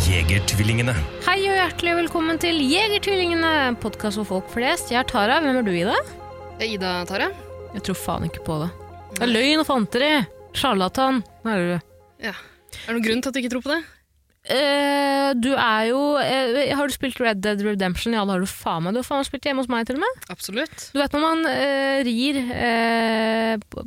Jegertvillingene. Hei og hjertelig velkommen til Jegertvillingene, podkast for folk flest. Jeg er Tara. Hvem er du, Ida? Det er Eh, Ida, Tara. Jeg tror faen ikke på det. Det er løgn og fanteri. Sjarlatan. Hva er du? Ja. Er det noen grunn til at du ikke tror på det? Eh, du er jo eh, Har du spilt Red Dead Redemption? Ja, det har du faen meg. Du har faen meg spilt hjemme hos meg, til og med. Absolutt. Du vet når man eh, rir eh, på-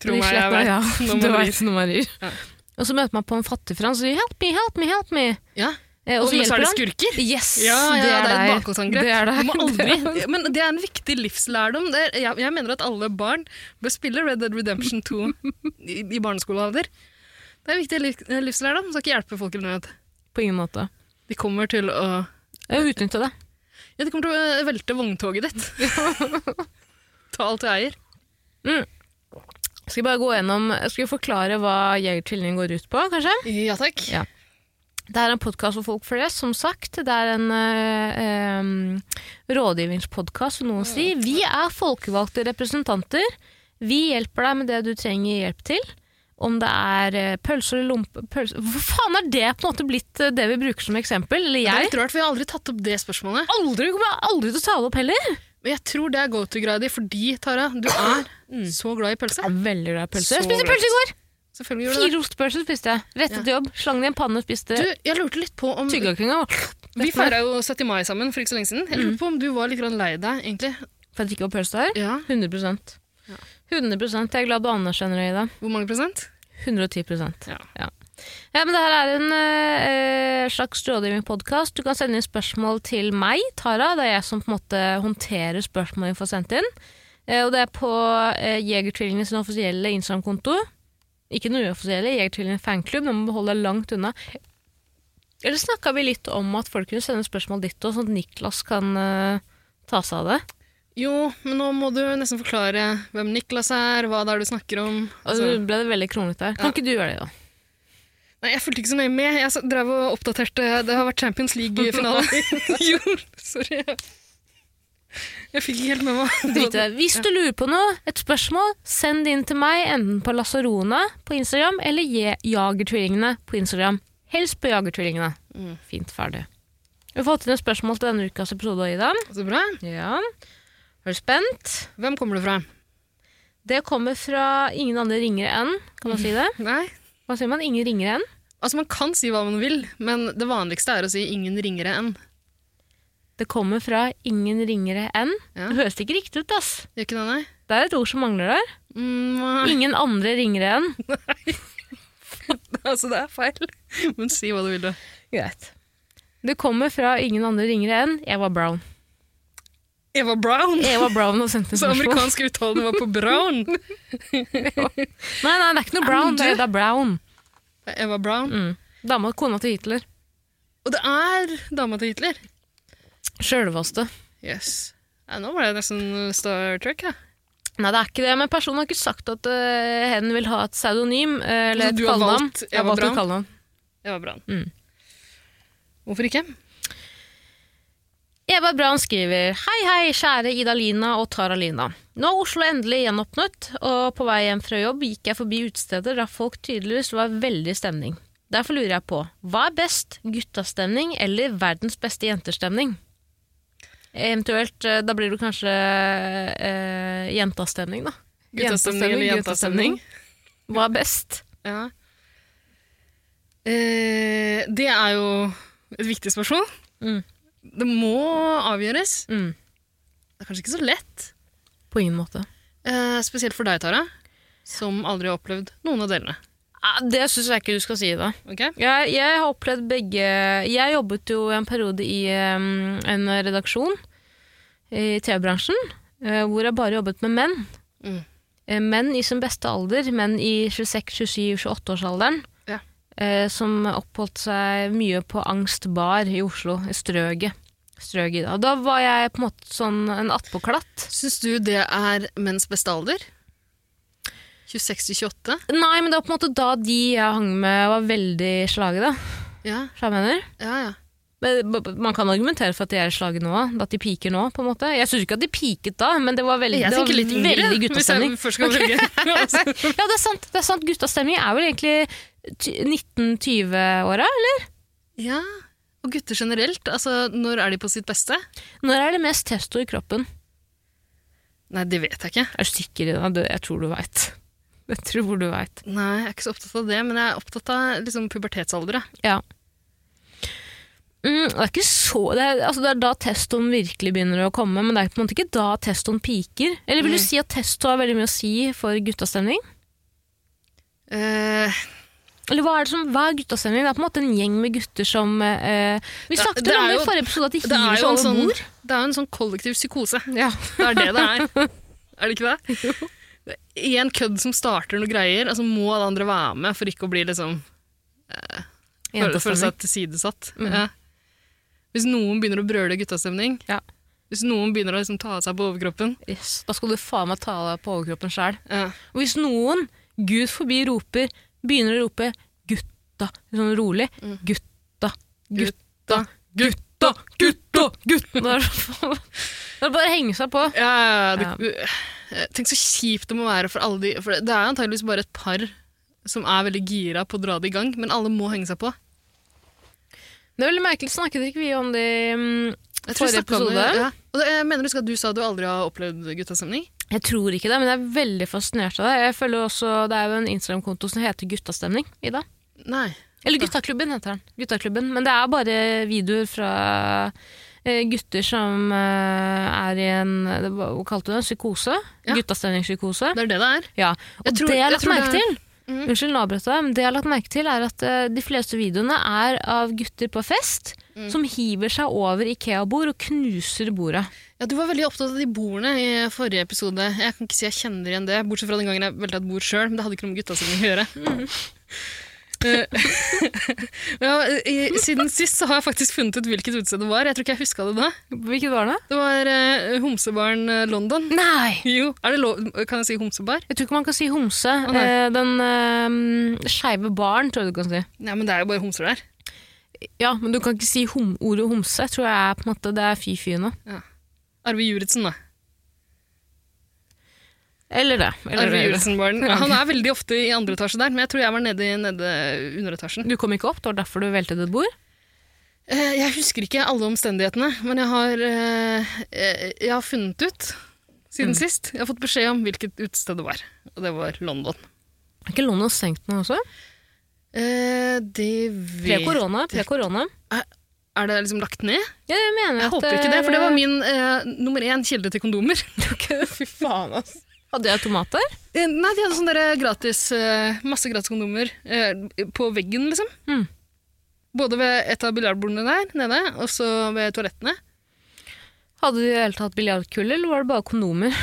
Tro i meg, jeg sletta, vet ja. når Du man vet når man rir. Ja. Og så møter man på en fattig for han, så sier 'help me, help me', help me. Ja. Eh, Og og så så er hjelper det han. skurker. Yes, Ja, ja, det er et deg. bakholdsangrep. Det er deg. Du må aldri, men det er en viktig livslærdom. Det er, jeg, jeg mener at alle barn bør spille Red Dead Redemption 2 i, i barneskolealder. Det er en viktig liv- livslærdom. Skal ikke hjelpe folk i nød. På ingen måte. De kommer til å Jeg utnytter det. Ja, de kommer til å eh, velte vogntoget ditt. Ta alt du eier. Skal jeg bare gå gjennom, skal jeg forklare hva Jegertvillingen går ut på, kanskje? Ja takk. Ja. Det er en podkast for folk flest, som sagt. Det er en eh, em, rådgivningspodkast, som noen sier. Vi er folkevalgte representanter. Vi hjelper deg med det du trenger hjelp til. Om det er eh, pølser eller lompe... Pølser. Hvor faen er det på en måte blitt eh, det vi bruker som eksempel? Eller Det er jeg? litt rart, for jeg har aldri tatt opp det spørsmålet. Aldri kommer jeg aldri til å ta det opp heller. Men jeg tror det er go to-greia di, fordi Tara, du er Mm. så glad i pølse. Jeg er veldig glad i pølser. Jeg Så spiste glad. pølse i går! Selvfølgelig gjør du det. Fire ostepølser spiste jeg. Rettet til jobb, slang det i en panne og spiste Du, jeg lurte litt på om tygga ikke engang. Vi feira jo 70. mai sammen for ikke så lenge siden. Jeg Mm. lurte på om du var litt grann lei deg, egentlig. For at det ikke var pølse der? Ja. 100 100 Jeg er glad du anerkjenner det, Ida. Hvor mange prosent? 110 Ja. Ja, men det her er en eh, slags rådgivningpodkast. Du kan sende inn spørsmål til meg, Tara. Det er jeg som på en måte håndterer spørsmål vi får sendt inn. Eh, og det er på uh, Jegertvillingene sin offisielle Instagram-konto. Ikke den uoffisielle. Jegertvillingene fanklubb. Nå må du holde deg langt unna. Eller snakka vi litt om at folk kunne sende spørsmål ditt òg, sånn at Niklas kan eh, ta seg av det? Jo, men nå må du nesten forklare hvem Niklas er, hva det er du snakker om. Og Altså, så ble det veldig kronglete her. Kan Ja. ikke du gjøre det, da? nei, jeg fulgte ikke så nøye med. Jeg s- drev og oppdaterte Det har vært Champions League-finale i jul. Sorry. Jeg fikk ikke helt med meg. Drit i det. Hvis du lurer på noe, et spørsmål, send det inn til meg enten på Lasarona på Instagram eller Je- Jagertvillingene på Instagram. Helst på Jagertvillingene. Mm. Fint ferdig. Vi har fått inn et spørsmål til denne ukas episode, Ida. Så bra. Ja. Er du spent? Hvem kommer du fra? Det kommer fra ingen andre ringere enn, kan man si det? Nei. Hva sier man? Ingen ringere enn? Altså, Man kan si hva man vil, men det vanligste er å si 'ingen ringere enn'. Det kommer fra ingen ringere enn. Ja. Det høres ikke riktig ut, ass. Gjør ikke det, nei? Det er et ord som mangler der. Mm, nei. Ingen andre ringere enn. altså, det er feil. Men si hva du vil, du. Greit. Det kommer fra ingen andre ringere enn Eva Brown. Eva Brown! Eva Brown har sendt en Så spørsmål. amerikansk uttale var på Brown. Nei, nei, det er ikke noe Brown. men du- Det er, det er Brown. Det er Eva Brown. Mm. Dama, kona til Hitler. Og det er dama til Hitler. Sjølveste. Yes. Nei, nå var det nesten Star Trek, ja. Nei, det er ikke det, men personen har ikke sagt at øh, hen vil ha et pseudonym. øh, eller Så et du har kallenavn. valgt Jeg har Eva valgt et Braun? kallenavn. Eva Brown. Mm. Hvorfor ikke? Eva Braun skriver Hei hei, kjære Ida-Lina og Tara-Lina. Nå er Oslo endelig gjenåpnet, og på vei hjem fra jobb gikk jeg forbi utesteder der folk tydeligvis var veldig i stemning. Derfor lurer jeg på, hva er best, guttastemning eller verdens beste jentestemning? Eventuelt, eh, da blir det kanskje eh, jentastemning da. Guttastemning eller jentastemning? Hva er best? Ja. Eh, det er jo et viktig spørsmål. Mm. Det må avgjøres. Mm, Det er kanskje ikke så lett. på ingen måte. Eh, spesielt for deg, Tara, som aldri har opplevd noen av delene. Ah, Det synes jeg ikke du skal si da. Ok? Jeg, jeg har opplevd begge Jeg jobbet jo en periode i em, en redaksjon i TV-bransjen, eh, hvor jeg bare jobbet med menn. Mm. Eh, menn i sin beste alder, menn i 26-27-28-årsalderen. Ja. Eh, som oppholdt seg mye på Angstbar i Oslo, i Strøget. strøk Ida. Da var jeg på en måte sånn en attpåklatt. Syns du det er menns beste alder? 26 til 28? Nei, men det var på en måte da de jeg hang med, var veldig slage, da. Ja, Så jeg mener. ja, ja. Men b- b- Man kan argumentere for at de er i slaget nå, at de piker nå. på en måte. Jeg syns ikke at de piket da, men det var veldig, Jeg det var tenker litt yngre, veldig hvis jeg guttastemning. først skal velge. Altså, Ja, det er sant. det er sant. Guttastemning er vel egentlig ty- 1920-åra, eller? ja, og gutter generelt, altså når er de på sitt beste? Når er det mest testo i kroppen? Nei, det vet jeg ikke. Jeg er du sikker? Ida? Du- Jeg tror du veit. Jeg tror du veit. Nei, jeg er ikke så opptatt av det, men jeg er opptatt av liksom, pubertetsalder. jeg. Ja. Mm, det, er ikke så, det, er, altså det er da testoen virkelig begynner å komme, men det er på en måte ikke da testoen piker. Eller vil du Mm. si at testo har veldig mye å si for guttastemning? Eh, Eller hva er det som, hva er guttastemning? Det er på en måte en gjeng med gutter som eh, Vi Det- snakket det vel om er det jo- i forrige episode at de det, er hiver jo en seg sånn, over bord. det er jo en sånn kollektiv psykose. Ja. Det er det det er. Er det ikke det? Det er Én kødd som starter noe greier, altså må alle andre være med for ikke å bli liksom føle føle Jentastemning. seg tilsidesatt. Ja. Hvis noen begynner å brøle guttastemning, Ja. hvis noen begynner å liksom ta av seg på overkroppen Yes. Da skal du faen meg ta deg på overkroppen sjæl. ja. Og hvis noen, gud forbi, roper, begynner å rope 'gutta' sånn rolig 'Gutta, gutta, gutta, gutta, gutta' Da er det da er det bare å henge seg på. Ja, ja, ja, det, Tenk så kjipt det må være for alle de For det er antageligvis bare et par som er veldig gira på å dra det i gang, men alle må henge seg på. Det er veldig merkelig. Snakket ikke vi om det i mm, Jeg tror vi forrige snakket om det, episode? ja. Og det, jeg mener husk at du sa du aldri har opplevd guttastemning. Jeg tror ikke det, men jeg er veldig fascinert av det. Jeg føler også, Det er jo en Instagram-konto som heter Guttastemning. Ida. Nei. Eller Guttaklubben heter den. Guttaklubben. Men det er bare videoer fra eh, gutter som eh, er i en det var- Hva kalte du det? Psykose? Ja. Guttastemningspsykose. Det er det det er. Ja. Og Jeg tror- det jeg har jeg lagt tror merke det- til, Mhm. Unnskyld, nå avbrøt jeg deg, men det jeg har lagt merke til er at eh, de fleste videoene er av gutter på fest Mm. som hiver seg over Ikea-bord og knuser bordet. Ja, Du var veldig opptatt av de bordene i forrige episode. Jeg kan ikke si jeg kjenner igjen det, bortsett fra den gangen jeg velta et bord sjøl. Men det hadde ikke noe med guttastemning å gjøre. Eh, ja, i, siden sist så har jeg faktisk funnet ut hvilket utested det var. Jeg tror ikke jeg huska det da. Hvilket var det? Det var eh, Homsebaren eh, London. Nei! Jo, er det lov, Kan jeg si homsebar? Jeg tror ikke man kan si homse. nei. Eh, den eh, skeive baren, tror jeg du kan si. Nei, men det er jo bare homser der. Ja, men du kan ikke si hom ordet homse. tror jeg er på en måte, Det er fy-fy nå. Arve Juritzen, da. Eller det. Eller det, Arve eller det. Juritzen-baren. Ja, ok. Han er veldig ofte i andre etasje der, men jeg tror jeg var nede i nede underetasjen. Du kom ikke opp, det var derfor du veltet et bord? Eh, Jeg husker ikke alle omstendighetene, men jeg har, eh, eh, jeg har funnet ut siden sist. Jeg har fått beskjed om hvilket utested det var, og det var London. Er ikke London stengt nå også? Eh, Det vet Pre-korona. pre-korona. Er det liksom lagt ned? Ja, jeg mener Jeg at håper ikke det, for det var min eh, nummer én kilde til kondomer. Fy faen, altså. Hadde jeg tomater? Eh, Nei, de hadde sånne der gratis, eh, masse gratis kondomer eh, på veggen, liksom. Mm. Både ved et av biljardbordene der nede, og så ved toalettene. Hadde de i det hele tatt biljardkull, eller var det bare kondomer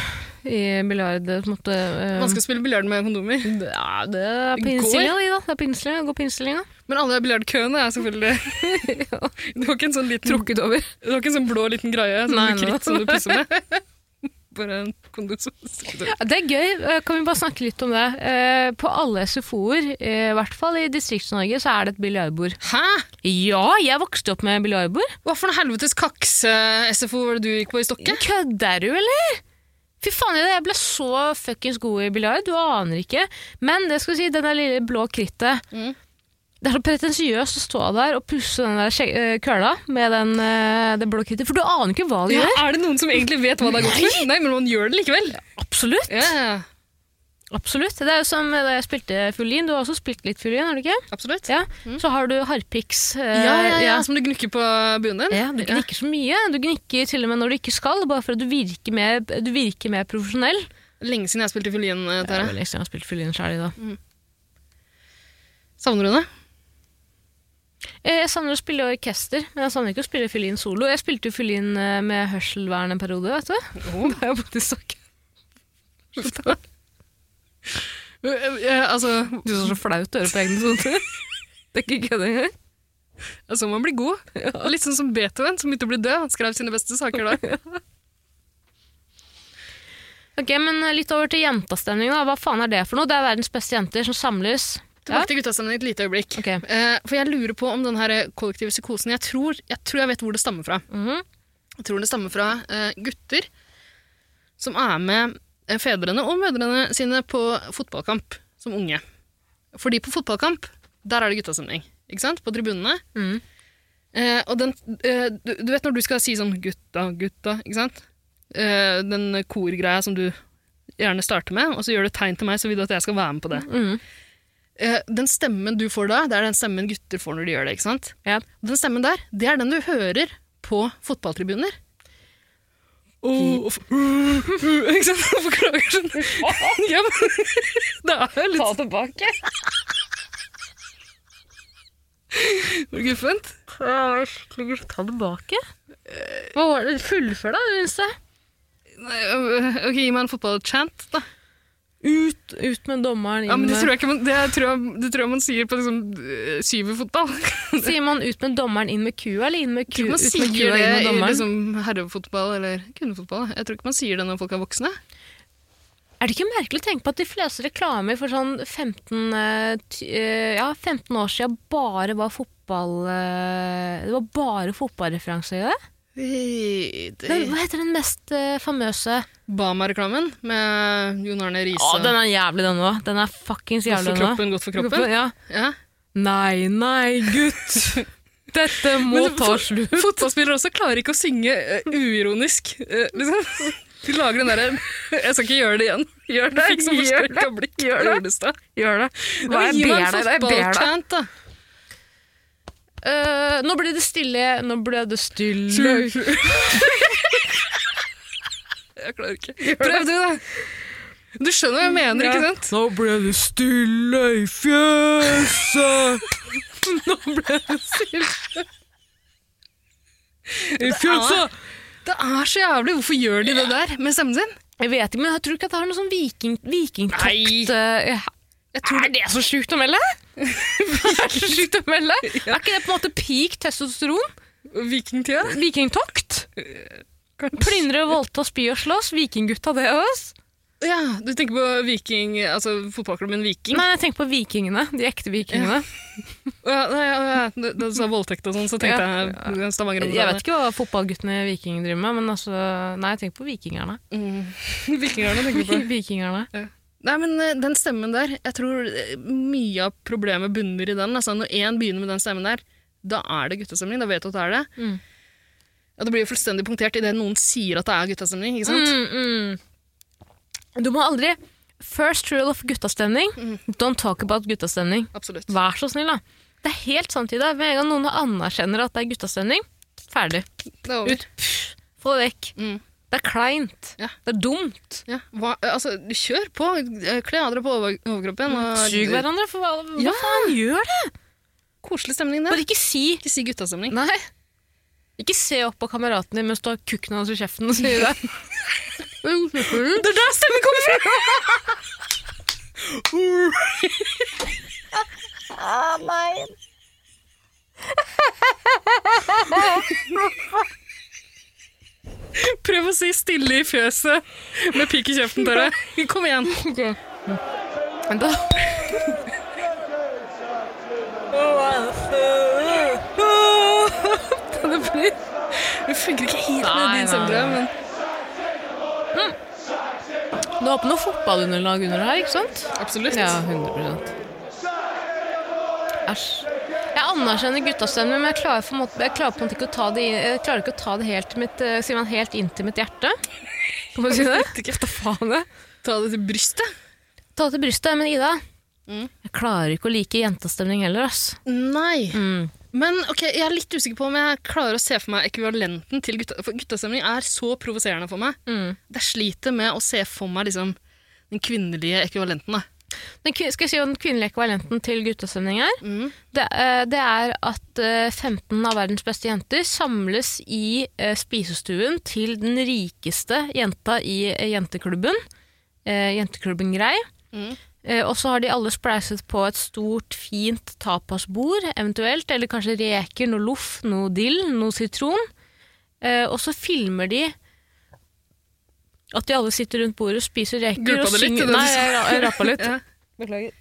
i biljard? på en måte, eh, Man skal spille biljard med kondomer. Ja, det er på Går. innstillinga di, da. Det er på innstillinga. Gå på innstillinga. Mm. Men alle biljardkøene er selvfølgelig Det var ikke en sånn liten, Trukket over. det var ikke en sånn blå liten greie sånn Nei, med nei. kritt som du pusser med. Bare en kondom som stikker ut. Ja, det er gøy. Eh, Kan vi bare snakke litt om det? Eh, På alle SFO-er, eh, i hvert fall i Distrikts-Norge, så er det et biljardbord. Hæ?! Ja, jeg vokste opp med biljardbord. Hva for noe helvetes kakse-SFO var det du gikk på i Stokke? Kødder du, eller? Fy faen, Ida, jeg ble så fuckings god i biljard. Du aner ikke. Men det skal jeg si, den der lille blå krittet Mm. Det er så pretensiøst å stå der og pusse den der skje- eh, køla med den, eh, det blå krittet, for du aner ikke hva det Ja, gjør. er det noen som egentlig vet hva det er godt for? Nei, men man gjør det likevel. Absolutt. Ja, ja, Absolutt. Det er jo som da jeg spilte fiolin. Du har også spilt litt fiolin, har du ikke? absolutt. Ja. Så har du harpiks. eh, Ja, ja, ja, som du gnukker på buen din. Ja, du gnikker så mye. Du gnikker til og med når du ikke skal, bare for at du virker mer, du virker mer profesjonell. Lenge siden jeg spilte fiolin, eh, Det er Tara. vel lenge siden jeg har spilt fiolin sjøl i dag. Savner du det? Eh, Jeg savner å spille i orkester, men jeg savner ikke å spille fiolin solo. Jeg spilte jo fiolin eh, med hørselvern en periode, vet du. Oh. Da jeg bodde i Stokke. altså, Eh, altså, Du så så flaut å høre på egne soner. Det er ikke kødd engang. Det er sånn man blir god. Litt sånn som Beethoven, som begynte å bli død. Han skrev sine beste saker da. Ok, men eh, litt over til jentastemning da. Hva faen er det for noe? Det er verdens beste jenter som samles. Ja? Tilbake til guttastemningen et lite øyeblikk. Ok. Eh, for jeg lurer på om den her eh, kollektive psykosen jeg tror, jeg tror jeg vet hvor det stammer fra. Mhm. Jeg tror det stammer fra eh, gutter som er med eh, fedrene og mødrene sine på fotballkamp som unge. Fordi på fotballkamp, der er det guttastemning. Ikke sant? På tribunene. Mhm. Eh, og den, eh, du, du vet når du skal si sånn 'gutta, gutta', ikke sant? Eh, den korgreia som du gjerne starter med, og så gjør du et tegn til meg så vil du at jeg skal være med på det. Mhm. Eh, den stemmen du får da, det er den stemmen gutter får når de gjør det. ikke sant? Ja. Og Den stemmen der, det er den du hører på fotballtribuner. Åh, f- ikke sant? Forklager sånn. Ja, men, det er jo litt tilbake. Var det guffent. Ta tilbake? Hva var det? Fullfør da, synes jeg. Nei, øh, Ok, gi meg en fotballchant, da. Ut, ut med dommeren. Ja, inn men det med- tror jeg ikke man, det tror jeg, det tror jeg man sier på liksom, øh, syverfotball. Sier man ut med dommeren, inn med kua, eller inn med Jeg tror kua, ikke man ut med sier kua, det inn med i dommeren? liksom, herrefotball eller kvinnefotball. Jeg tror ikke man sier det når folk er voksne. Er det ikke merkelig å tenke på at de fleste reklamer for sånn 15, eh, ty- eh, ja, 15 år siden bare var fotball... eh, Det var bare fotballreferanser i det? Men Hva heter den mest eh, famøse? Bama-reklamen med Jon Arne Riise. er jævlig den òg. Den er fuckings godt for den også. kroppen, godt for kroppen. Ja. Ja. Nei, nei, gutt. Dette må Men ta for- slutt. Fotballspillere også klarer ikke å synge eh, uironisk. eh, liksom. De lager den derre 'jeg skal ikke gjøre det igjen'. Gjør det, Liksom, ikke som gjør det, forstørka blikk. gjør det. Ulestad. Gjør det. Ja, men Gi meg en fotballchant, da. Eh, nå ble det stille. Nå ble det stille. Jeg klarer ikke. Prøv du, da. Du skjønner hva jeg mener, ikke sant? Nå ble det stille i fjeset. Nå ble det stille i fjeset. Det er så jævlig. Hvorfor gjør de det der med stemmen sin? Jeg vet ikke, men jeg tror ikke at det har noe sånn viking, vikingtokt eh, Jeg tror Er det så sjukt å melde? er det så sjukt å melde? Er ikke det på en måte peak testosteron? Vikingtida? Vikingtokt? Plyndre, voldta, spy og slåss? Vikinggutta, det òg? Ja, du tenker på viking, altså fotballklubben Viking? Nei, jeg tenker på vikingene. De ekte vikingene. Ja, nei, ja, ja. Da- Da du sa voldtekt og sånn, så tenkte jeg Stavanger. Jeg vet ikke hva fotballguttene i Viking driver med, men altså Nei, jeg tenker på vikingerne. Mm. Vikingerne tenker du på. vikingerne. Nei, men eh, den stemmen der, jeg tror eh, mye av problemet bunner i den. Altså, når én begynner med den stemmen der, da er det guttastemning. Da vet du at det er det. Mm. Ja, det blir jo fullstendig punktert idet noen sier at det er guttastemning, ikke sant? Mm, mm. Du må aldri First rule of guttastemning. Don't talk about guttastemning. Absolutt. Vær så snill, da. Det er helt sant i det. Med en gang noen anerkjenner at det er guttastemning, ferdig. Det er over. Ut. Pff, Få det vekk. Mm. Det er kleint. Ja. Det er dumt. Ja. Hva, eh, altså, kjør på. Eh, Kle av dere på over overkroppen. og- Sug hverandre, for hva, hva Ja. faen gjør det? Koselig stemning, det. Bare ikke si Ikke si guttastemning. Nei. Ikke se opp på kameraten din mens du har kukken hans i kjeften og sier det. Det er der stemmen kommer fra! nei. Prøv å si 'stille i fjeset' med pik i kjeften, dere. Kom igjen. Men da Det blir Det funker ikke helt med Nei, din nei, stemme, men Du har på noe fotballunderlag under her, ikke sant? absolutt. Ja, 100 Æsj. Jeg anerkjenner guttastemmen, men jeg klarer, på en måte, jeg klarer på en måte ikke å ta det, inn- jeg klarer ikke å ta det helt, til mitt, eh, sier man, helt inn til mitt hjerte. Kan man si det? Hva faen det? Ta det til brystet. Ta det til brystet, men Ida, Mm. jeg klarer ikke å like jentastemning heller, ass. Nei. Mm. Men ok, jeg er litt usikker på om jeg klarer å se for meg ekvivalenten til gutta, for guttastemning er så provoserende for meg. Mm. Jeg sliter med å se for meg liksom, den kvinnelige ekvivalenten. Da. Den, kvin- skal jeg si hva den kvinnelige ekvivalenten til guttastemning er? Mm. Det, eh, det er at eh, 15 av verdens beste jenter samles i eh, spisestuen til den rikeste jenta i eh, jenteklubben. Eh, Jenteklubben Grei. Mm. Eh, Og så har de alle spleiset på et stort, fint tapasbord, eventuelt. Eller kanskje reker, noe loff, noe dill, noe sitron. Eh, Og så filmer de at de alle sitter rundt bordet og spiser reker. Gulpa og det litt, synger- det du Nei, sa. jeg, ra- jeg rapa litt. Ja. Beklager.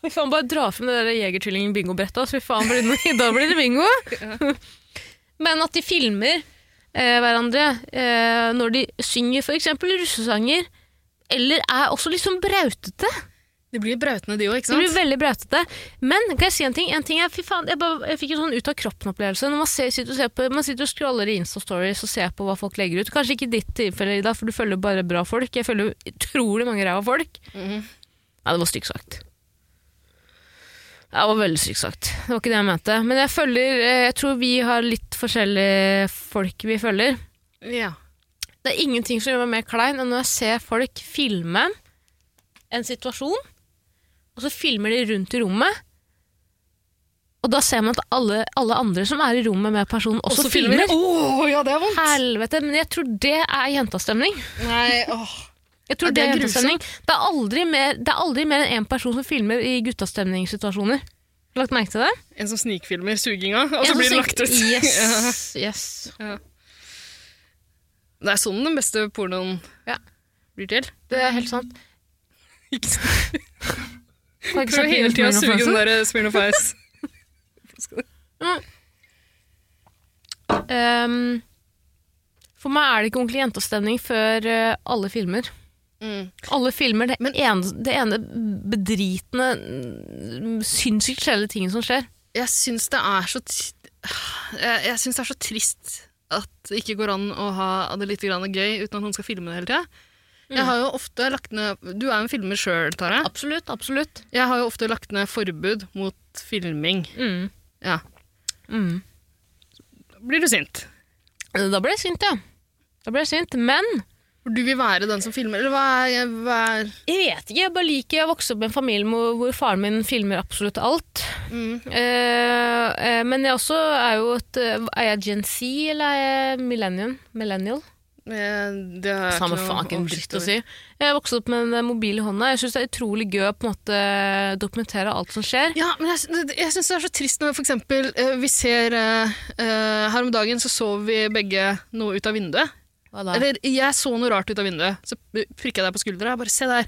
Fy faen, bare dra frem det der Jegertvillingen-bingobrettet. Altså, fy faen, blir det noe- da blir det bingo! Men at de filmer eh, hverandre eh, når de synger f.eks. russesanger, eller er også litt sånn brautete. De blir brautende, de òg, ikke Det blir sant? veldig brautete. Men kan jeg si en ting? En ting er, fy faen, jeg, bare, jeg fikk en sånn ut av kroppen-opplevelse. Når man, ser, sitter og ser på, man sitter og scroller i Insta-stories og ser på hva folk legger ut. Kanskje ikke i ditt tilfelle, Ida, for du følger bare bra folk. Jeg følger jo utrolig mange ræva folk. Mhm. Ja, det var stygt sagt. Det var veldig stygt sagt. Det var ikke det jeg mente. Men jeg følger eh, Jeg tror vi har litt forskjellige folk vi følger. Ja. Det er ingenting som gjør meg mer klein enn når jeg ser folk filme en situasjon, og så filmer de rundt i rommet, og da ser man at alle, alle andre som er i rommet med personen, også, Og så filmer. Å, ja, det er vondt! Helvete, men jeg tror det er jentastemning. Nei, åh. Jeg tror Ja, det det er er jentastemning. Det er aldri mer, det er aldri mer enn én person som filmer i guttastemningssituasjoner. Har du Lagt merke til det? En som snikfilmer suginga, og En så som blir det sier- lagt ut. Ja. Yes, yes. Det er sånn den beste pornoen Ja. blir til. Det er helt sant. Ikke sant? Kan jeg ikke Prøver snakke hele tida å mer om suge Fransen? den der eh, Smirnoff Ice. Mm. Ehm, for meg er det ikke ordentlig jentestemning før eh, alle filmer. Mm. Alle filmer det, ene, det ene bedritne, mm, sinnssykt kjedelige tingen som skjer. Jeg syns det er så t- jeg, jeg syns det er så trist at det ikke går an å ha det litt grann gøy uten at noen skal filme det hele tida. Jeg har jo Mm. ofte lagt ned Du er jo en filmer sjøl, Tara. Absolutt, absolutt. Jeg har jo ofte lagt ned forbud mot filming. Mm. Ja. Mm. Blir du sint? Da ble jeg sint, ja. Da ble jeg sint, Men For du vil være den som filmer, eller hva er, hva er jeg vet ikke, jeg bare liker å vokse opp i en familie hvor hvor faren min filmer absolutt alt. mm. Eh, eh, men jeg også er jo et eh, Er jeg Gen Z, eller er jeg millennium? millennial? eh, Det har jeg Samme ikke noe faken oversikt dritt å over. si. Jeg vokste opp med en eh, mobil i hånda. Jeg syns det er utrolig gøy å på en måte eh, dokumentere alt som skjer. Ja, men jeg, sy- jeg syns det er så trist når for eksempel eh, vi ser eh, eh, Her om dagen så så vi begge noe ut av vinduet. Hva da? Eller jeg så noe rart ut av vinduet, så prikka jeg deg på skuldra. Jeg Bare se der.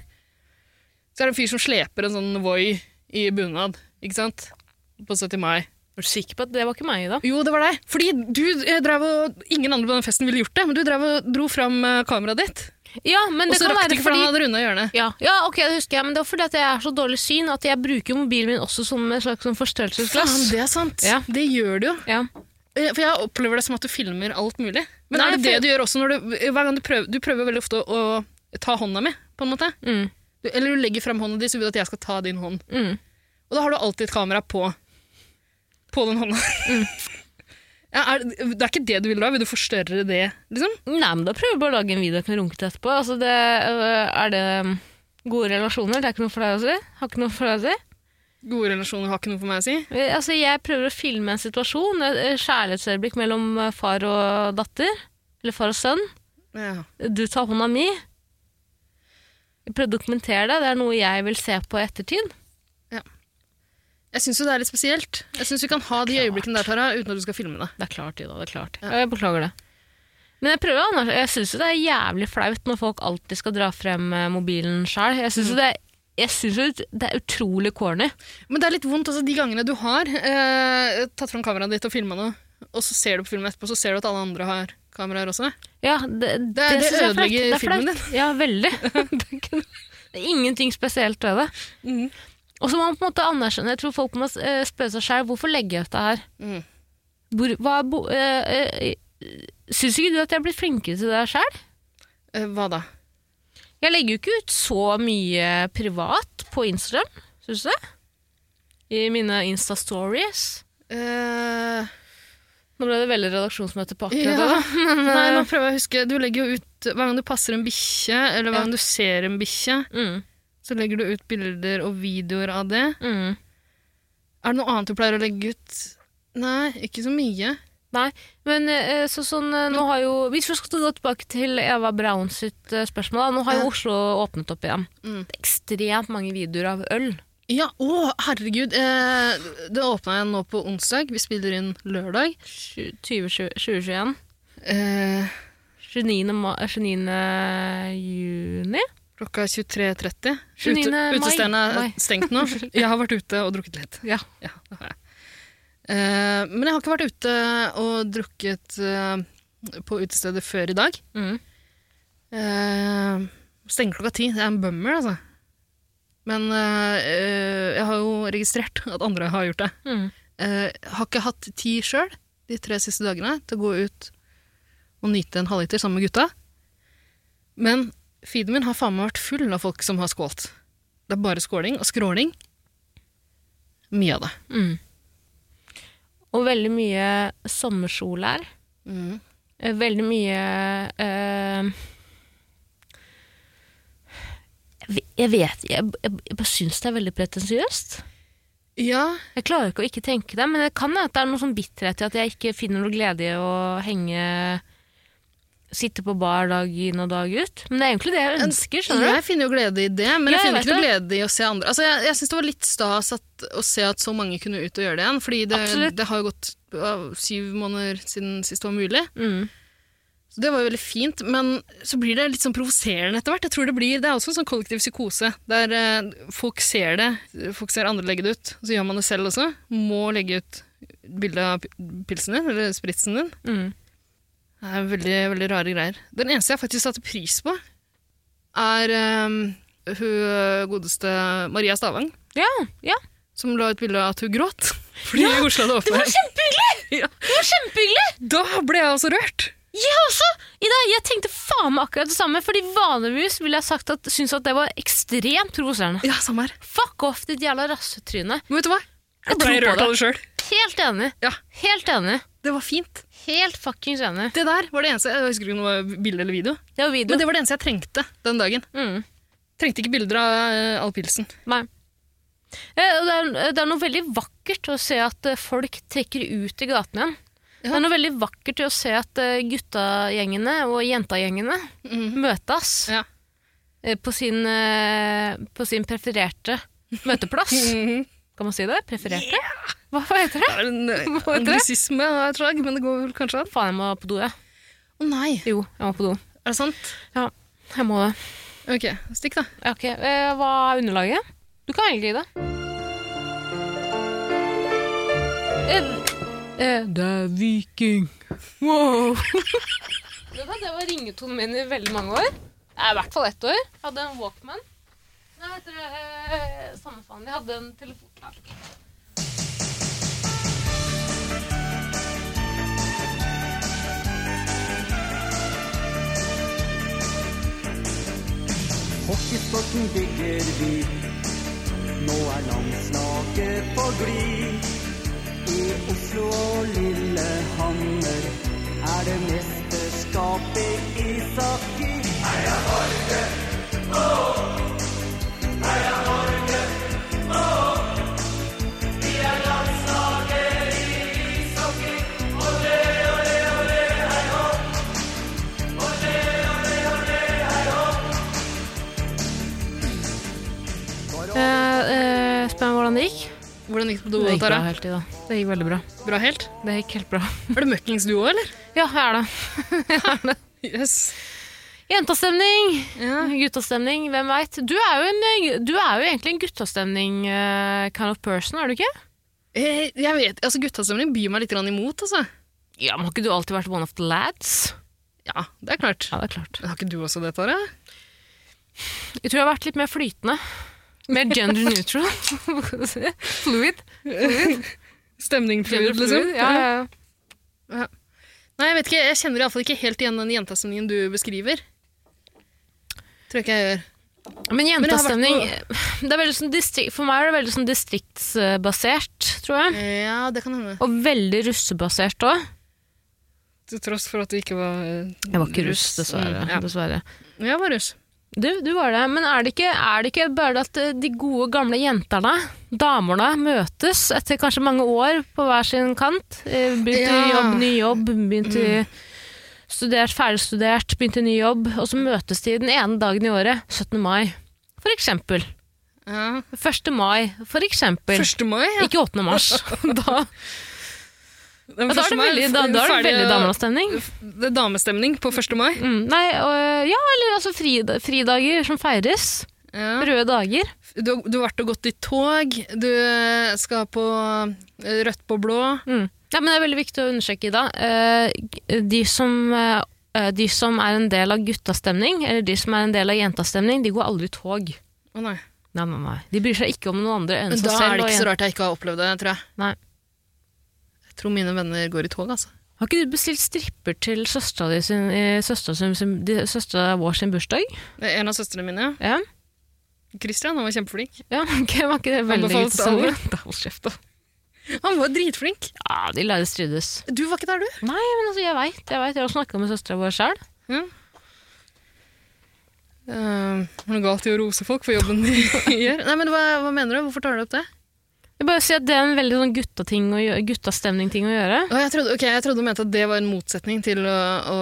Så er det en fyr som sleper en sånn Voi i bunad, ikke sant? På 70 mai. Er du sikker på at det var ikke meg, da? Jo, det var deg. Fordi du eh, drev og Ingen andre på den festen ville gjort det, men du drev og dro fram eh, kameraet ditt. Ja, men Og det så kan rakk du være ikke, for han fordi hadde runda hjørnet. ja, ja, ok, det husker jeg, men det er fordi at jeg er så dårlig syn at jeg bruker mobilen min også som et slags sånn forstørrelsesglass. Faen, det er sant. Ja. Det gjør du jo. Ja. Eh, For jeg opplever det som at du filmer alt mulig. Men Nei, er det det for- du gjør også når du eh, hver gang du prøver, du prøver veldig ofte å, å ta hånda mi, på en måte? Mm, Du, eller du legger fram hånda di så vil du at jeg skal ta din hånd. mm. Og da har du alltid et kamera på på den hånda. Mm. ja, er, det er ikke det du vil da? Vil du forstørre det, liksom? Nei, men da prøver jeg bare å lage en video jeg kan runke til etterpå. Altså, det, øh, er det um, gode relasjoner? Det er ikke noe for deg å si? Har ikke noe for deg å si? Gode relasjoner har ikke noe for meg å si. Eh, Altså, jeg prøver å filme en situasjon, et eh, kjærlighetsøyeblikk mellom eh, far og datter, eller far og sønn. Ja. Du tar hånda mi. Jeg prøver å dokumentere det, det er noe jeg vil se på i ettertid. Jeg syns jo det er litt spesielt. Jeg syns vi kan ha de Klart. øyeblikkene der, Tara, uten at du skal filme det. Det er klart, Ida, det er klart. Jeg beklager det. Men jeg prøver, Anders. Jeg syns jo det er jævlig flaut når folk alltid skal dra frem eh, mobilen sjøl. Jeg syns jo det, jeg synes jo det er utrolig corny. Men det er litt vondt altså, de gangene du har eh, tatt fram kameraet ditt og filma noe, og så ser du på filmen etterpå, så ser du at alle andre har kameraer også. Ja, det, det, det synes jeg er ødelegger flaut. Det er filmen flaut. Ja, veldig. det, er ikke noe, det er ingenting spesielt ved det. Mhm. Og så må man på en måte anerkjenne, jeg tror folk må eh, spørre seg selv, hvorfor legger jeg ut det her? Mhm. Hvor, hva, er bo, eh, eh, synes ikke du at jeg er blitt flinkere til det her selv? Eh, hva da? Jeg legger jo ikke ut så mye privat på Instagram, synes du det? I mine Insta-stories. Eh, Nå ble det veldig redaksjonsmøte på akkurat det. ja. da. Nei, nå prøver jeg å huske. Du legger jo ut Hver gang du passer en bikkje, eller hver Ja. gang du ser en bikkje, Mm, så legger du ut bilder og videoer av det. mm. Er det noe annet du pleier å legge ut? Nei, ikke så mye. Nei, men eh, så sånn eh, nå har jo Hvis vi skal gå tilbake til Eva Braun sitt eh, spørsmål, da. Nå har Ja. jo Oslo åpnet opp igjen. Det er ekstremt mange videoer av øl. Ja, å, herregud. Eh, det åpna jeg nå på onsdag. Vi spiller inn lørdag. 2021. Eh, 29. Ma 29. juni? klokka er 23.30. 29. Ute, mai. utestedene Mai. er stengt nå. Jeg har vært ute og drukket litt. Ja. Ja, det har jeg. Eh, men jeg har ikke vært ute og drukket eh, på utestedet før i dag. Mm. Eh, stenger klokka ti. Det er en bummer, altså. Men eh, eh, jeg har jo registrert at andre har gjort det. Mm. Eh, har ikke hatt tid sjøl de tre siste dagene til å gå ut og nyte en halvliter sammen med gutta. Men feeden min har faen meg vært full av folk som har skålt. Det er bare skåling og skråling. Mye av det. Mm. Og veldig mye sommersol her. Eh, veldig mye eh, jeg ve- Jeg vet Jeg, jeg, jeg bare syns det er veldig pretensiøst. Ja, Jeg klarer ikke å ikke tenke det, men det kan være at det er noe sånn bitterhet i at jeg ikke finner noe glede i å henge Sitte på bar dag inn og dag ut. Men det er egentlig det jeg ønsker, skjønner du. jeg finner jo glede i det, Ja, men jeg jeg finner ikke noe vet glede i å se andre. Altså, jeg jeg syns det var litt stas at, å se at så mange kunne ut og gjøre det igjen, fordi det, Absolutt. det har jo gått ja, syv måneder siden sist det var mulig. Mm. Så det var jo veldig fint, men så blir det litt sånn provoserende etter hvert. Jeg tror Det blir, det er også en sånn kollektiv psykose, der eh, folk ser det, folk ser andre legge det ut, og så gjør man det selv også. Må legge ut bilde av p- pilsen din, eller spritsen din. Mm. Det er veldig, veldig rare greier. Den eneste jeg faktisk satte pris på, er eh, hun godeste Maria Stavang, Ja, ja. som la ut bilde av at hun gråt. Fordi ja, Oslo hadde åpnet. kjempehyggelig! Ja. Det var kjempehyggelig! Da ble jeg også rørt. Jeg også! Ida, jeg tenkte faen meg akkurat det samme, fordi vanligvis ville jeg sagt at, syntes at det var ekstremt provoserende. Ja, samme her. Fuck off, ditt jævla rassetryne. Men vet du hva? Jeg Jeg ble tror på rørt det. av det sjøl. Helt enig. Ja. Helt enig. Det var fint. Helt fuckings enig. Det der var det eneste Jeg husker ikke om det var bilde eller video. Det var video. Men det var det eneste jeg trengte den dagen. Mm. Trengte ikke bilder av eh, all pilsen. Nei. Eh, og Det er, det er noe veldig vakkert å se at eh, folk trekker ut i gaten igjen. Ja. Det er noe veldig vakkert i å se at eh, guttagjengene og jentagjengene møtes Mhm. Ja. eh, på, sin, eh, på sin prefererte møteplass. Mhm. Kan man si det? Prefererte? Hva, hva heter det? Det er en eh, Hva heter det? anglisisme av et slag, men det går vel kanskje an. Faen, jeg må på do, jeg. Å nei, Jo, jeg må på do. er det sant? Ja, jeg må det. Ok, stikk da. Ja, Ok, eh, Hva er underlaget? Du kan velge i det. det er viking. Wow! det var ringetonen min i veldig mange år. Det er I hvert fall ett år. Jeg hadde en Walkman. Nei, heter det eh, Samme faen. Jeg hadde en telefon Ja, ok. Hockeysporten bygger vi. Nå er landslaget på glid. I Oslo og Lillehammer er det mesterskap i ishockey. Heia Eh, eh, Spør meg hvordan det gikk. Hvordan gikk det på do, Tara? helt i dag. Det gikk veldig bra. Bra helt? Det gikk helt bra. Er det møkkings du òg, eller? Ja, jeg er det. Yes. Jentastemning! Ja. Guttastemning, hvem veit. Du, er jo en- du er jo egentlig en guttastemning eh, kind of person, er du ikke? Eh, Jeg vet, altså Guttastemning byr meg litt grann imot, altså. Ja, men Har ikke du alltid vært one of the lads? Ja, det er klart. Ja, det er klart. Men Har ikke du også det, Tara? Jeg tror jeg har vært litt mer flytende. Mer gender neutral. Fluid. Fluid. Stemning Gender fluid, liksom? fluid. Ja, ja, ja. Nei, jeg vet ikke, jeg kjenner i alle fall ikke helt igjen den jentastemningen du beskriver. Tror ikke jeg gjør. Men jeg har vært jentastemning det er veldig sånn distrik- For meg er det veldig sånn distriktsbasert, tror jeg. Eh, Ja, det kan hende. Og veldig russebasert òg. Til tross for at du ikke var eh, Jeg var ikke russ, dessverre. Mm, dessverre. Ja. Jeg var russ. Du, du var det. Men er det, ikke, er det ikke bare at eh, de gode, gamle jentene, damene, møtes etter kanskje mange år på hver sin kant? Eh, Begynt i Ja. Mm. jobb, ny jobb, begynt i studert, ferdigstudert, begynt i ny jobb. Og så møtes de den ene dagen i året, 17. mai, for eksempel. Ja. 1. mai, for eksempel. 1. mai, ja. Ikke 8. mars. da, Den ja, da er 1. det mai, veldig, da, da er det ferdig- veldig altså. dameavstemning. Det er damestemning på 1. mai. Mm, nei, øh, ja, eller altså frida- fridager som feires. Ja. Røde dager. Du, har- du har vært og gått i tog, du eh, skal på eh, rødt på blå. Mm. Ja, men det er veldig viktig å undersøke, Ida. Eh, g- de, som, eh, de som er en del av guttastemning, eller de som er en del av jentastemning, de går aldri i tog. Å nei. Nei, nei, nei. De bryr seg ikke om noen andre enn Men seg da er selv. det og ikke så jen- rart jeg ikke har opplevd det, tror jeg. Nei. Jeg tror mine venner går i tog, altså. Har ikke du bestilt stripper til søstera di sin, eh, søstera sin, sin, de- søstera vår sin bursdag? Det er En av søstrene mine, ja. Ja, Christian, han var kjempeflink. ja ok, var ikke det veldig Anbefales alle. interessant? Da, Hold kjeft, da. Han var dritflink. Ja, de lærde strides. Du var ikke der, du. Nei, men altså, jeg veit. Jeg, vet, jeg har snakka med søstera vår sjøl. Uh, noe galt i å rose folk for jobben de gjør. Nei, men hva, hva mener du? Hvorfor tar du opp det? Jeg bare sier at Det er en veldig sånn guttating å gjø- guttastemning-ting å gjøre. Å, jeg, trodde, ok, jeg trodde du mente at det var en motsetning til å, å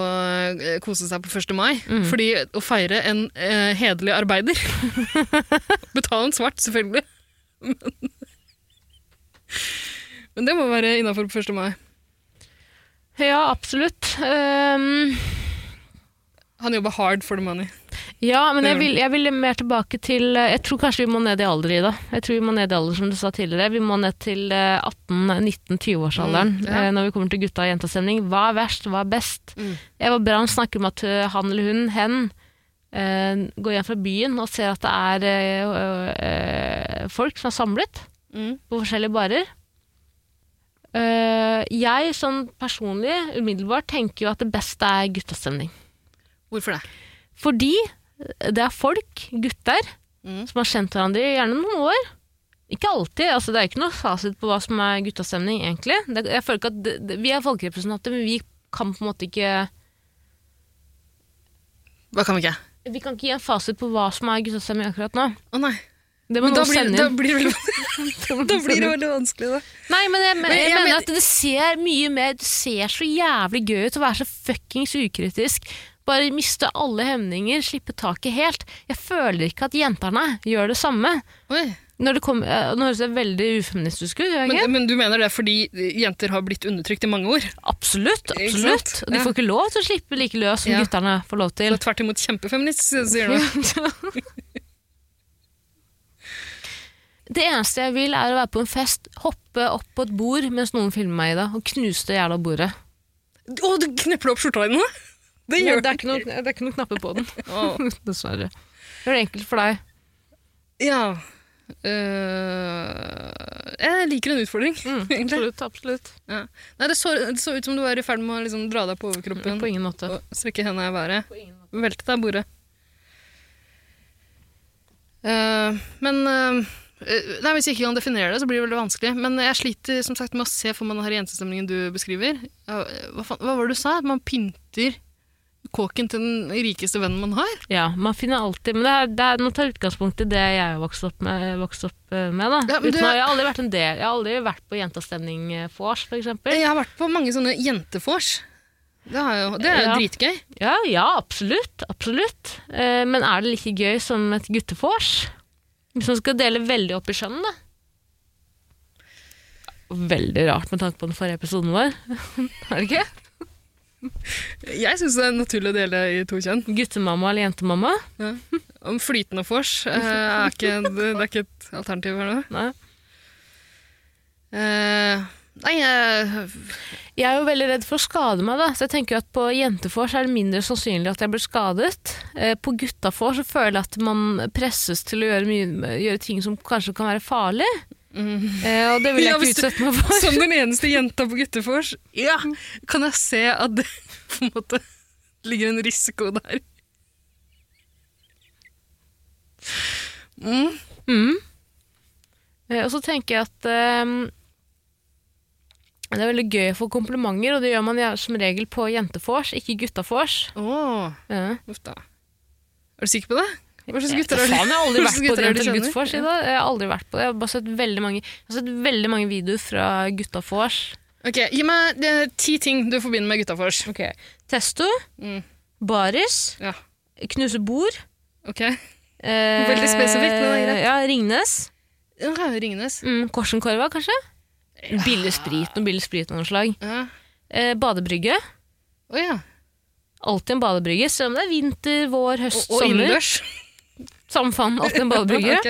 eh, kose seg på 1. mai. Mhm. Fordi å feire en eh, hederlig arbeider Betale en svart, selvfølgelig. Men, men det må være innafor på 1. mai. Ja, absolutt. Ehm, Han jobber hard for the money. ja, men Det jeg gjør vil, jeg vil mer tilbake til eh, Jeg tror kanskje vi må ned i alder, Ida. Jeg tror vi må ned i alder, som du sa tidligere. Vi må ned til eh, 18-19-20-årsalderen Mm, ja. eh, når vi kommer til gutta- og jentastemning. Hva er verst, hva er best? Mm. Eva Braun snakker om at eh, han eller hun, hen, eh, går hjem fra byen og ser at det er eh, eh, folk som er samlet. Mm. på forskjellige barer. Eh, jeg sånn personlig, umiddelbart, tenker jo at det beste er guttastemning. Hvorfor det? Fordi det er folk, gutter, Mm. som har kjent hverandre i gjerne noen år. Ikke alltid, altså det er ikke noe fasit på hva som er guttastemning, egentlig. Det, jeg føler ikke at det, det, Vi er folkerepresentanter, men vi kan på en måte ikke Hva kan vi ikke? Vi kan ikke gi en fasit på hva som er guttastemning akkurat nå. Å nei. Det må Men da noen blir, sende da, inn. blir det, veldig- Det må da noen blir sende det inn. veldig vanskelig, da. Nei, men jeg, men, Men jeg, jeg mener mener- at det ser mye mer Det ser så jævlig gøy ut å være så fuckings ukritisk. Bare miste alle hemninger, slippe taket helt. Jeg føler ikke at jentene gjør det samme. Oi. Når det kommer- eh, nå høres det veldig ufeministisk ut. gjør jeg Men, ikke? men du mener det er fordi jenter har blitt undertrykt i mange år? Absolutt. Ikke absolutt. sant? Og de Ja. får ikke lov til å slippe like løs som Ja. gutterne får lov til. Eller tvert imot kjempefeminist, sier du. Det eneste jeg vil, er å være på en fest, hoppe opp på et bord mens noen filmer meg i det, og knuse det jævla bordet. Å, du knepper opp skjorta di nå? Det Nei, gjør det er ikke noen det er ikke noen knapper på den. Å. Dessverre. Gjør det enkelt for deg. Ja. Øh, jeg liker en utfordring, egentlig. absolutt, Mm, absolutt. Ja. Nei, det, så, det så ut som du var i ferd med å liksom dra deg på overkroppen På ingen måte. og strekke henda i været. Velte deg i bordet. Eh, men eh, eh, nei, Hvis jeg ikke kan definere det, så blir det veldig vanskelig. Men jeg sliter som sagt med å se for meg den her jentestemningen du beskriver. Ja, Hva, faen, hva var det du sa? At man pynter kåken til den rikeste vennen man har? Ja, man finner alltid Men det er, det er, nå tar jeg utgangspunkt i det jeg har vokst opp med. Vokst opp eh, med da. Ja, men Uten, du- å- jeg, har aldri vært en del, jeg har aldri vært på jentastemning eh, vors, for eksempel. Jeg har vært på mange sånne jentefors. Det, har jeg jo, det er jo Ja. dritgøy. Ja, ja, absolutt. Absolutt. Eh, men er det like gøy som et guttevors? Hvis man skal dele veldig opp i skjønn, da. Veldig rart med tanke på den forrige episoden vår. er det ikke? Jeg syns det er naturlig å dele i to kjønn. Guttemamma eller jentemamma? Om flytende vors eh, er ikke, det er ikke et alternativ her nå. Nei. Eh, nei, jeg- Jeg er jo veldig redd for å skade meg, da. så jeg tenker jo at på jentefors er det mindre sannsynlig at jeg blir skadet. Eh, På guttafors så føler jeg at man presses til å gjøre, mye, gjøre ting som kanskje kan være farlig. Eh, og det vil jeg Mm. Ja, ikke hvis du- utsette meg for. som den eneste jenta på guttefors, ja, kan jeg se at det på en måte ligger en risiko der. Mm. Mm. Eh, Og så tenker jeg at ehm, det er veldig gøy å få komplimenter, og det gjør man gjerne som regel på jentefors, ikke guttafors. Åh, Ja. uff da. Er du sikker på det? Hva slags gutter Jeg vet da faen, jeg har aldri hva vært slags på gutter det er det du til kjenner? Guttfors. Ida. Jeg har aldri vært på det. Jeg har bare sett veldig mange, jeg har sett veldig mange videoer fra gutta vors. Ok, Gi meg eh, ti ting du forbinder med gutta vors. Testo, Mm. baris, Ja. knuse bord. Ok. eh, Veldig spesifikt, men det er greit. Ja, Ringnes. Ja, Ringenes. Mm, Korsenkorva, kanskje? Billig sprit, noe billig sprit av noe slag. Ja. Eh, badebrygge. Å ja. Alltid en badebrygge, selv om det er vinter, vår, høst, Og, og sommer. innendørs. Samme faen, alltid en badebrygge. Ok.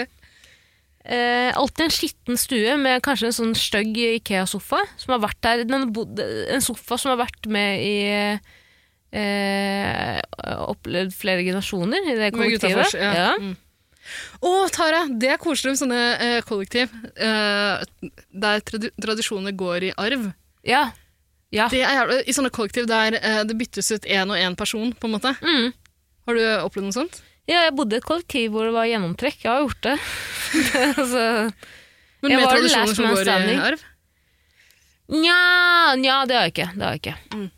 Eh, alltid en skitten stue med kanskje en sånn stygg Ikea-sofa. Som har vært der, den har bodd- En sofa som har vært med i eh, Opplevd flere generasjoner i det Med gutta kollektivet. vors, ja. Ja. Mm. Å, Tara! Det er koselig med sånne eh, kollektiv eh, der tradi tradisjoner går i arv. Ja. ja. Det er jævlig, I sånne kollektiv der eh, det byttes ut én og én person, på en måte. Mm. Har du opplevd noe sånt? ja, jeg bodde i et kollektiv hvor det var gjennomtrekk. Jeg har gjort det. altså, Men Jeg med var the tradisjoner last som man går i standing. arv? Nja, nja, det har jeg ikke. Det har jeg ikke. Mm.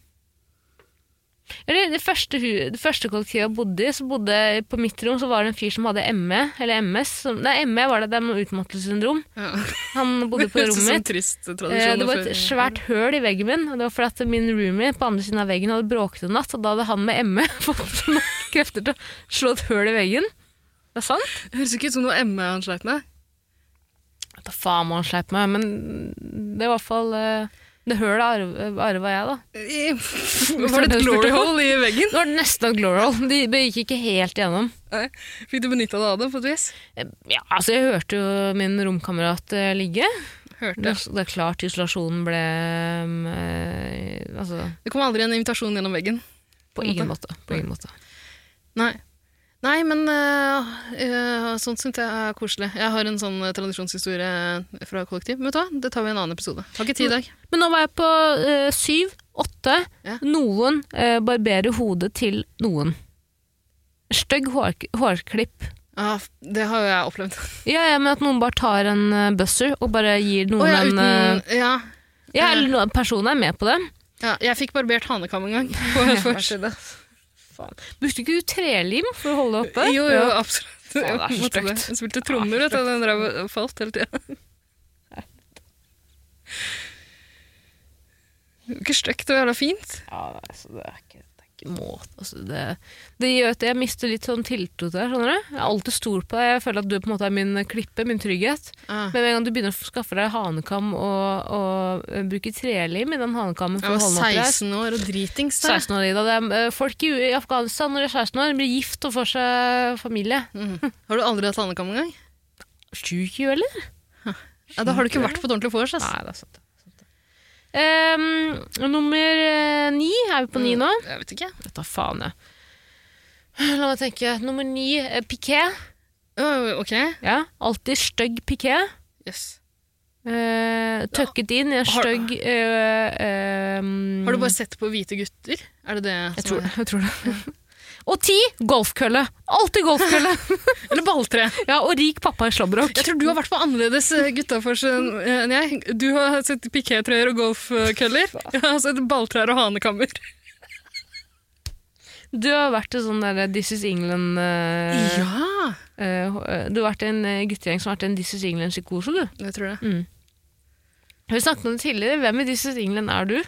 Eller, det, første, hu- det første kollektivet jeg bodde i, så bodde på mitt rom så var det en fyr som hadde ME, eller MS. Som, nei, ME var det, det er noe utmattelsessyndrom. Ja. Han bodde på Høres ut som rommet mitt. trist tradisjon Eh, Det var for- et svært høl i veggen min, og det var fordi at min roomie på andre siden av veggen hadde bråket en natt, og da hadde han med ME fått nok krefter til å slå et høl i veggen. Det er sant? Høres ikke ut som noe ME han sleit med. Da faen må han sleipe meg, men det er i hvert fall eh, Det hølet arv- arva jeg, da. I- Var det et glory hole i veggen? Det var nesten Glorol. De de gikk ikke helt gjennom. Nei. Fikk du benytta deg av det på et vis? Ja, altså Jeg hørte jo min romkamerat eh, ligge. Det, Hørte. det er klart isolasjonen ble mm, eh, Altså, Det kom aldri en invitasjon gjennom veggen. på ingen måte. På ingen måte. Nei. Nei, men øh, øh, sånt syns jeg er koselig. Jeg har en sånn øh, tradisjonshistorie eh, fra kollektiv. Men vet du hva, det tar vi i en annen episode. Har ikke tid i dag. Men nå var jeg på eh, syv, åtte. Ja. Noen eh, barberer hodet til noen. Stygg hår, hårklipp. Ja, f- det har jo jeg opplevd. Ja, ja, men at noen bare tar en eh, buzzer og bare gir Å noen ja, en eh, uten Ja. Ja, eller noen personer er med på det. ja. Jeg fikk barbert hanekam en gang. På en forside. Brukte ikke du trelim for å holde det oppe? Jo, jo, absolutt. Faen, det er så Jeg måtte stygt. det. Jeg spilte trommer, vet du. og Den drev og falt hele tida. Det er ikke stygt og jævla fint. Ja, altså, det er ikke, det er ikke måte. Altså, det, det gjør at jeg mister litt sånn tiltro til deg. skjønner du? Jeg er alltid stor på deg. Jeg føler at du på en måte er min eh, klippe, min trygghet. Ah. Men med en gang du begynner å skaffe deg hanekam og, og eh, bruke trelim i den hanekammen for å Jeg var holde den oppreist 16 år og dritings. da. 16 år, Ida. Det er, eh, folk i, i Afghanistan når de er 16 år, blir gift og får seg familie. Har du aldri hatt hanekam engang? Sjuk jo, eller? Ja, da har du ikke vært på et ordentlig vors. ass. Nei, det er sant. det er sant, det. Ehm, nummer eh, ni. Er vi på ni nå? Mm. Jeg vet ikke. Dette faen, jeg. La meg tenke. Nummer ni, eh, piké. Å, ok, Ja, alltid stygg piké. yes. Eh, tøkket inn i en Har- stygg eh, eh, Har du bare sett på hvite gutter? Er det det jeg som tror, det, jeg tror det. og ti, golfkølle. Alltid golfkølle! er Eller balltre. ja, og rik pappa i slåbrok. Jeg tror du har vært på annerledes eh, guttafors enn enn jeg. Du har sett pikétrøyer og golfkøller. Jeg har sett balltrær og hanekammer. Du har vært i sånn der This is England eh, Ja! eh, Du har vært i en eh, guttegjeng som har vært i en This is England-psykose, du. Jeg tror det. Vi snakket om det tidligere. Hvem i This is England er du?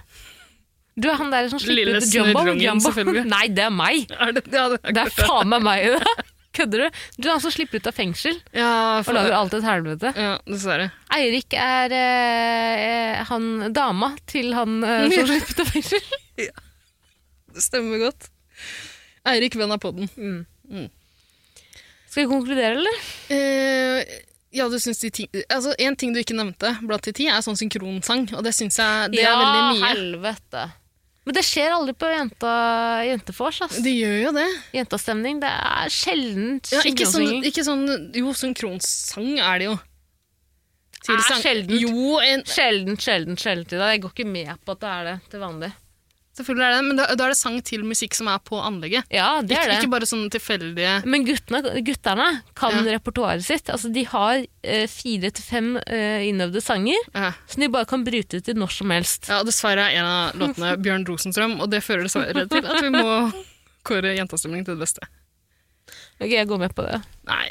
Du er han der som slipper Lille ut jumbo. snørrungen, jumbo. selvfølgelig. Nei, det er meg! Er det, ja, det, Det er faen meg meg i det. Kødder du? Du er han som slipper ut av fengsel ja, og for, lager alt et helvete. ja, dessverre. Eirik er eh, han dama til han eh, som slipper ut av fengsel. Det stemmer godt. Eirik, venn av podden. Skal vi konkludere, eller? Eh, ja, du syns de ti Altså, en ting du ikke nevnte blant de ti, er sånn synkronsang, og det syns jeg det er veldig mye. helvete. Men det skjer aldri på jenta, jentefors. ass. Det gjør jo det. Jentastemning. Det er sjelden Ja, ikke, sånn, synkronsinging. ikke sånn Jo, synkronsang er det jo. Til Er sang- sjeldent. Jo, en, Sjelden, sjelden, sjelden til deg. Jeg går ikke med på at det er det til vanlig. selvfølgelig er det det, men da, da er det sang til musikk som er på anlegget. Ja, det Ikke, er det. ikke bare sånn tilfeldige Men guttene, gutterne kan Ja. repertoaret sitt. Altså, de har eh, fire til fem eh, innøvde sanger, ja. som de bare kan bryte ut i når som helst. ja, dessverre er en av låtene Bjørn Rosenstrøm, og det fører dessverre til at vi må kåre jentastemning til det beste. Ok, jeg går med på det. Nei,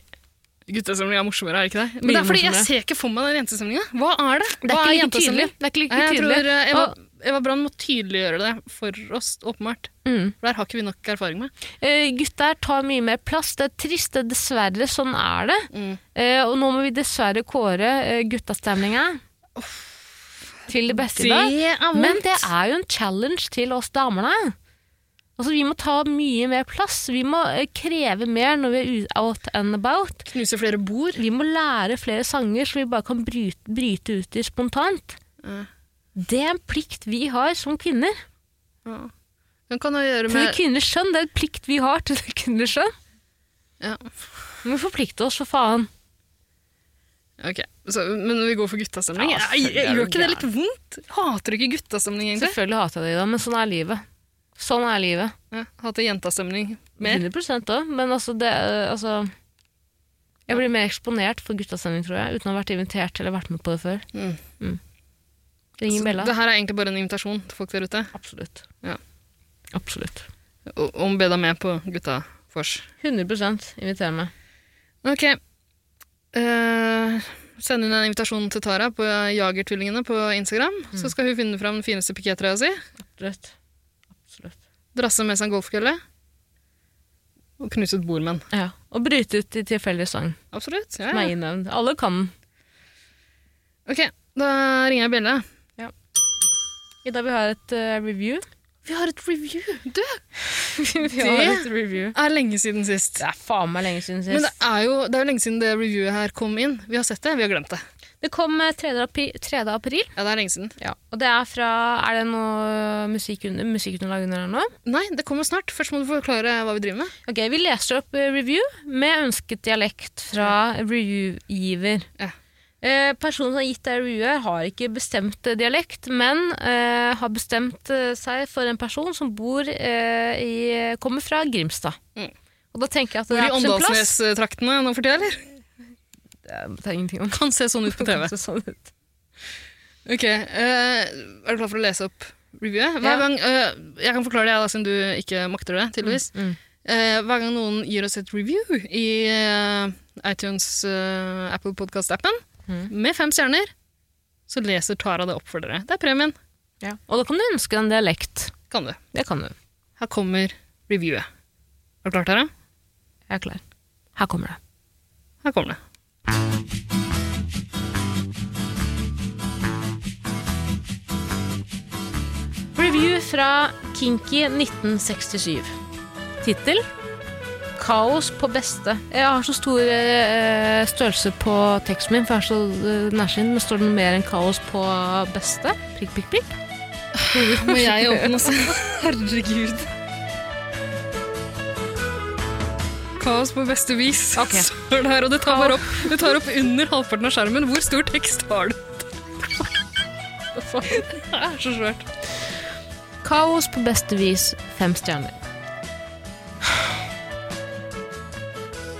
guttestemning er morsommere, er det ikke det? Men det Mye er fordi jeg morsommere. ser ikke for meg den jentestemninga. Hva er det? Det Hva er ikke like jentestemning? tydelig. Det er ikke like Nei, jeg tydelig. tror eh, Eva, Og- Eva Brann må tydeliggjøre det for oss, åpenbart. Mm. For der har ikke vi nok erfaring med. Eh, gutter tar mye mer plass. Det er trist, det er dessverre. Sånn er det. Mm. Eh, og nå må vi dessverre kåre uh, guttastemninga til det beste i dag. er vondt. Men det er jo en challenge til oss damene. Altså, vi må ta mye mer plass. Vi må eh, kreve mer når vi er u- out and about. Knuse flere bord. Vi må lære flere sanger som vi bare kan bryte, bryte ut i spontant. Ja. Det er en plikt vi har som kvinner. Ja. Den kan ha å gjøre Til det med kvinners skjønn. Det er en plikt vi har til det kvinners skjønn. ja. Vi må forplikte oss, for faen. Ok, så, Men vi går for guttastemning? Ja, Ja, selvfølgelig er gjør du ikke det litt vondt? Hater du ikke guttastemning, egentlig? Selvfølgelig hater jeg det, men sånn er livet. Sånn er livet. Ja, hater jentastemning mer? 100 da, men altså, det, øh, altså Jeg blir mer eksponert for guttastemning, tror jeg, uten å ha vært invitert eller vært med på det før. Mm. Mm. Ringer Så Bella? Det her er egentlig bare en invitasjon til folk der ute. Absolutt. Ja. Absolutt. O- Om be deg med på gutta fors. 100 inviterer meg. Ok. Eh, send inn en invitasjon til Tara på Jagertvillingene på Instagram. Mm. Så skal hun finne fram den fineste pikettrøya si. Absolutt. Absolutt. Drasse med seg en golfkølle. Og knuse et bord med den. Ja. Og bryte ut i tilfeldig sang. Absolutt. Ja, som er ja. innøvd. Alle kan den. Ok, da ringer jeg Bjelle. Ida, vi har et øh, review. Vi har et review! Du! vi Det review. er lenge siden sist. Det er faen meg lenge siden sist. Men det er, jo, det er jo lenge siden det reviewet her kom inn. Vi har sett det, vi har glemt det. Det kom eh, 3. api- 3. april, Ja, det er lenge siden. og det er fra Er det noe musikk under, musikkunderlag under her nå? Nei, det kommer snart. Først må du forklare hva vi driver med. Ok, Vi leser opp eh, review med ønsket dialekt fra reviewgiver. Ja. Eh, personen som har gitt deg reviewet, har ikke bestemt eh, dialekt, men eh, har bestemt eh, seg for en person som bor eh, i Kommer fra Grimstad. Mm. Og da tenker jeg at Hvor det i er på sin plass. Åndalsnes-traktene nå for tida, eller? Det vet jeg ingenting om. Kan se sånn ut på TV. Det ser sånn ut. Ok, eh, Er du klar for å lese opp reviewet? Ja. Hver gang, eh, jeg kan forklare det, jeg, da, siden du ikke makter det. tydeligvis. Mm, mm. Eh, hver gang noen gir oss et review i eh, iTunes, eh, Apple Podcast-appen, Mm. med fem stjerner, så leser Tara det opp for dere. Det er premien. Og da kan du ønske deg en dialekt. Kan du. Det kan du. Her kommer reviewet. Er du klar, Tara? Jeg er klar. Her kommer det. Her kommer det. Review fra Kinky 1967. Tittel Kaos på beste. Jeg har så stor eh, størrelse på teksten min, for jeg er så eh, nærsynt. Men står det noe mer enn kaos på beste? Prikk, prikk, prikk. Må jeg åpne også? Herregud. Kaos på beste vis. Ok. Står det her, og det tar, bare opp, det tar opp under halvparten av skjermen. Hvor stor tekst har du? Det er så svært. Kaos på beste vis. Fem stjerner.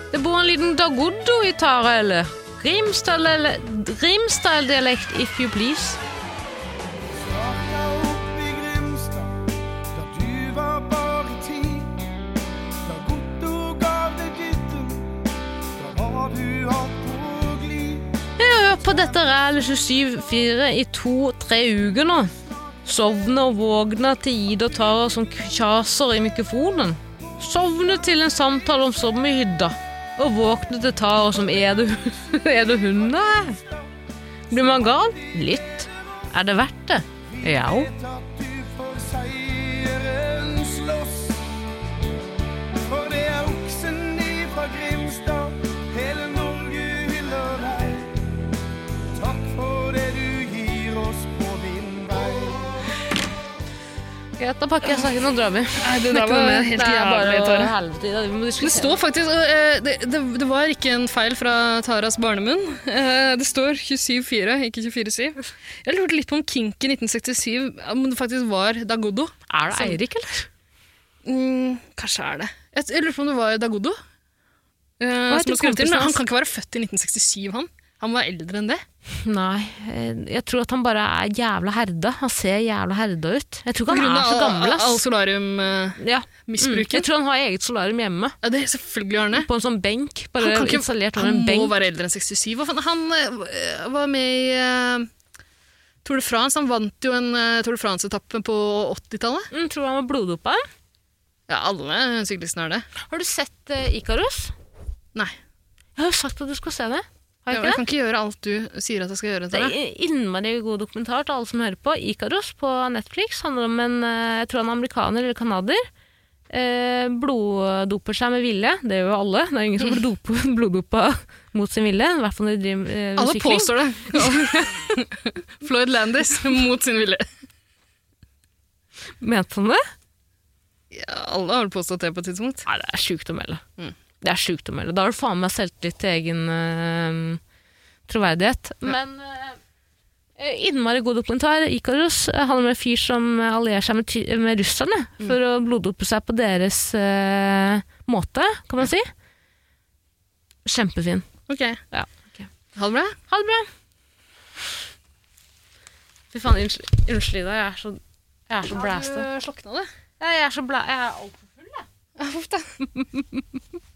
Det bor en liten dagoddo i Tara, eller? Rimsdal- eller- Rimsdal-dialekt, if you please. Starta opp i Grimstad, da du var bare ti. Da Gotto gav deg gutten, da var du opp på glid. Hør på dette Ræl 27-4 i to-tre uker nå. Sovne og vågne til Ida og Tara som kjaser i mikrofonen. Sovne til en samtale om sommerhydda. Og våkne til Tara som er det, er det hunden her? Blir man gal? Litt. Er det verdt det? Ja. Vet at du for seieren slåss. For det er oksen ifra Grimstad, hele Norge hyller deg. Takk for det du gir oss på din vei. Greit, da pakker jeg saken og drar vi. Nei, det Ikke der noe var mer. helt Det er bare jævlig, å- Tara. helvete, Ida, vi må Det diskutere. står faktisk eh, det, det, det var ikke en feil fra Taras barnemunn. Eh, Det står 27-4, ikke 24-7. Jeg lurte litt på om Kinky 1967 om det faktisk var Dagodo. Er det Eirik, eller? Mm, kanskje er det. Jeg, jeg lurer på om det var Dagodo. heter Eh, som har skrevet til, kompisen men han hans? kan ikke være født i 1967, han. Han var eldre enn det. Nei, eh, jeg tror at han bare er jævla herda. Han ser jævla herda ut. Jeg tror På ikke grunn han er av Ah. så gammel, all, all ass. solarium-misbruken. Ja. Mm. Jeg tror han har eget solarium hjemme, Ja, det er selvfølgelig har han det. på en sånn benk. Bare Han kan ikke- installert over Han en benk. må være eldre enn 67. Hva faen? Han eh, var med i eh, Tour de France. Han vant jo en eh, Tour de France-etappe på 80-tallet. Mm, tror du han var bloddopa? Ja, alle syklistene har det. Har du sett eh, Ikarus? Nei. Jeg har jo sagt at du skal se det. Har jeg Jeg, ikke det? jeg kan ikke gjøre alt du sier at jeg skal gjøre. Det Tara. er innmari god dokumentar til alle som hører på. Ikaros på Netflix handler om en eh, jeg tror han er amerikaner eller canadier. Eh, bloddoper seg med vilje. Det gjør jo alle. Det er jo ingen som blir dope- bloddopa mot sin vilje. I hvert fall når de driver eh, med Alle sykling. påstår det. Floyd Landis mot sin vilje. Mente han det? Ja, alle har vel påstått det på et tidspunkt. Nei, det er sjukt å melde. Mm. Det er sjukt å melde. Da har du faen meg selvtillit til egen eh, troverdighet. Men eh, innmari god dokumentar. Ikaros eh, handler om en fyr som eh, allierer seg med, ty med russerne for å bloddope seg på deres eh, måte, kan man si. Kjempefin. Ok. Ja. Ha det bra. Ha det bra! Fy faen, unnskyld, unnskyld Ida. Jeg er så, jeg er så blæsta. Har du slokna det? Jeg er så blæ... Jeg er altfor full, jeg. Uff da.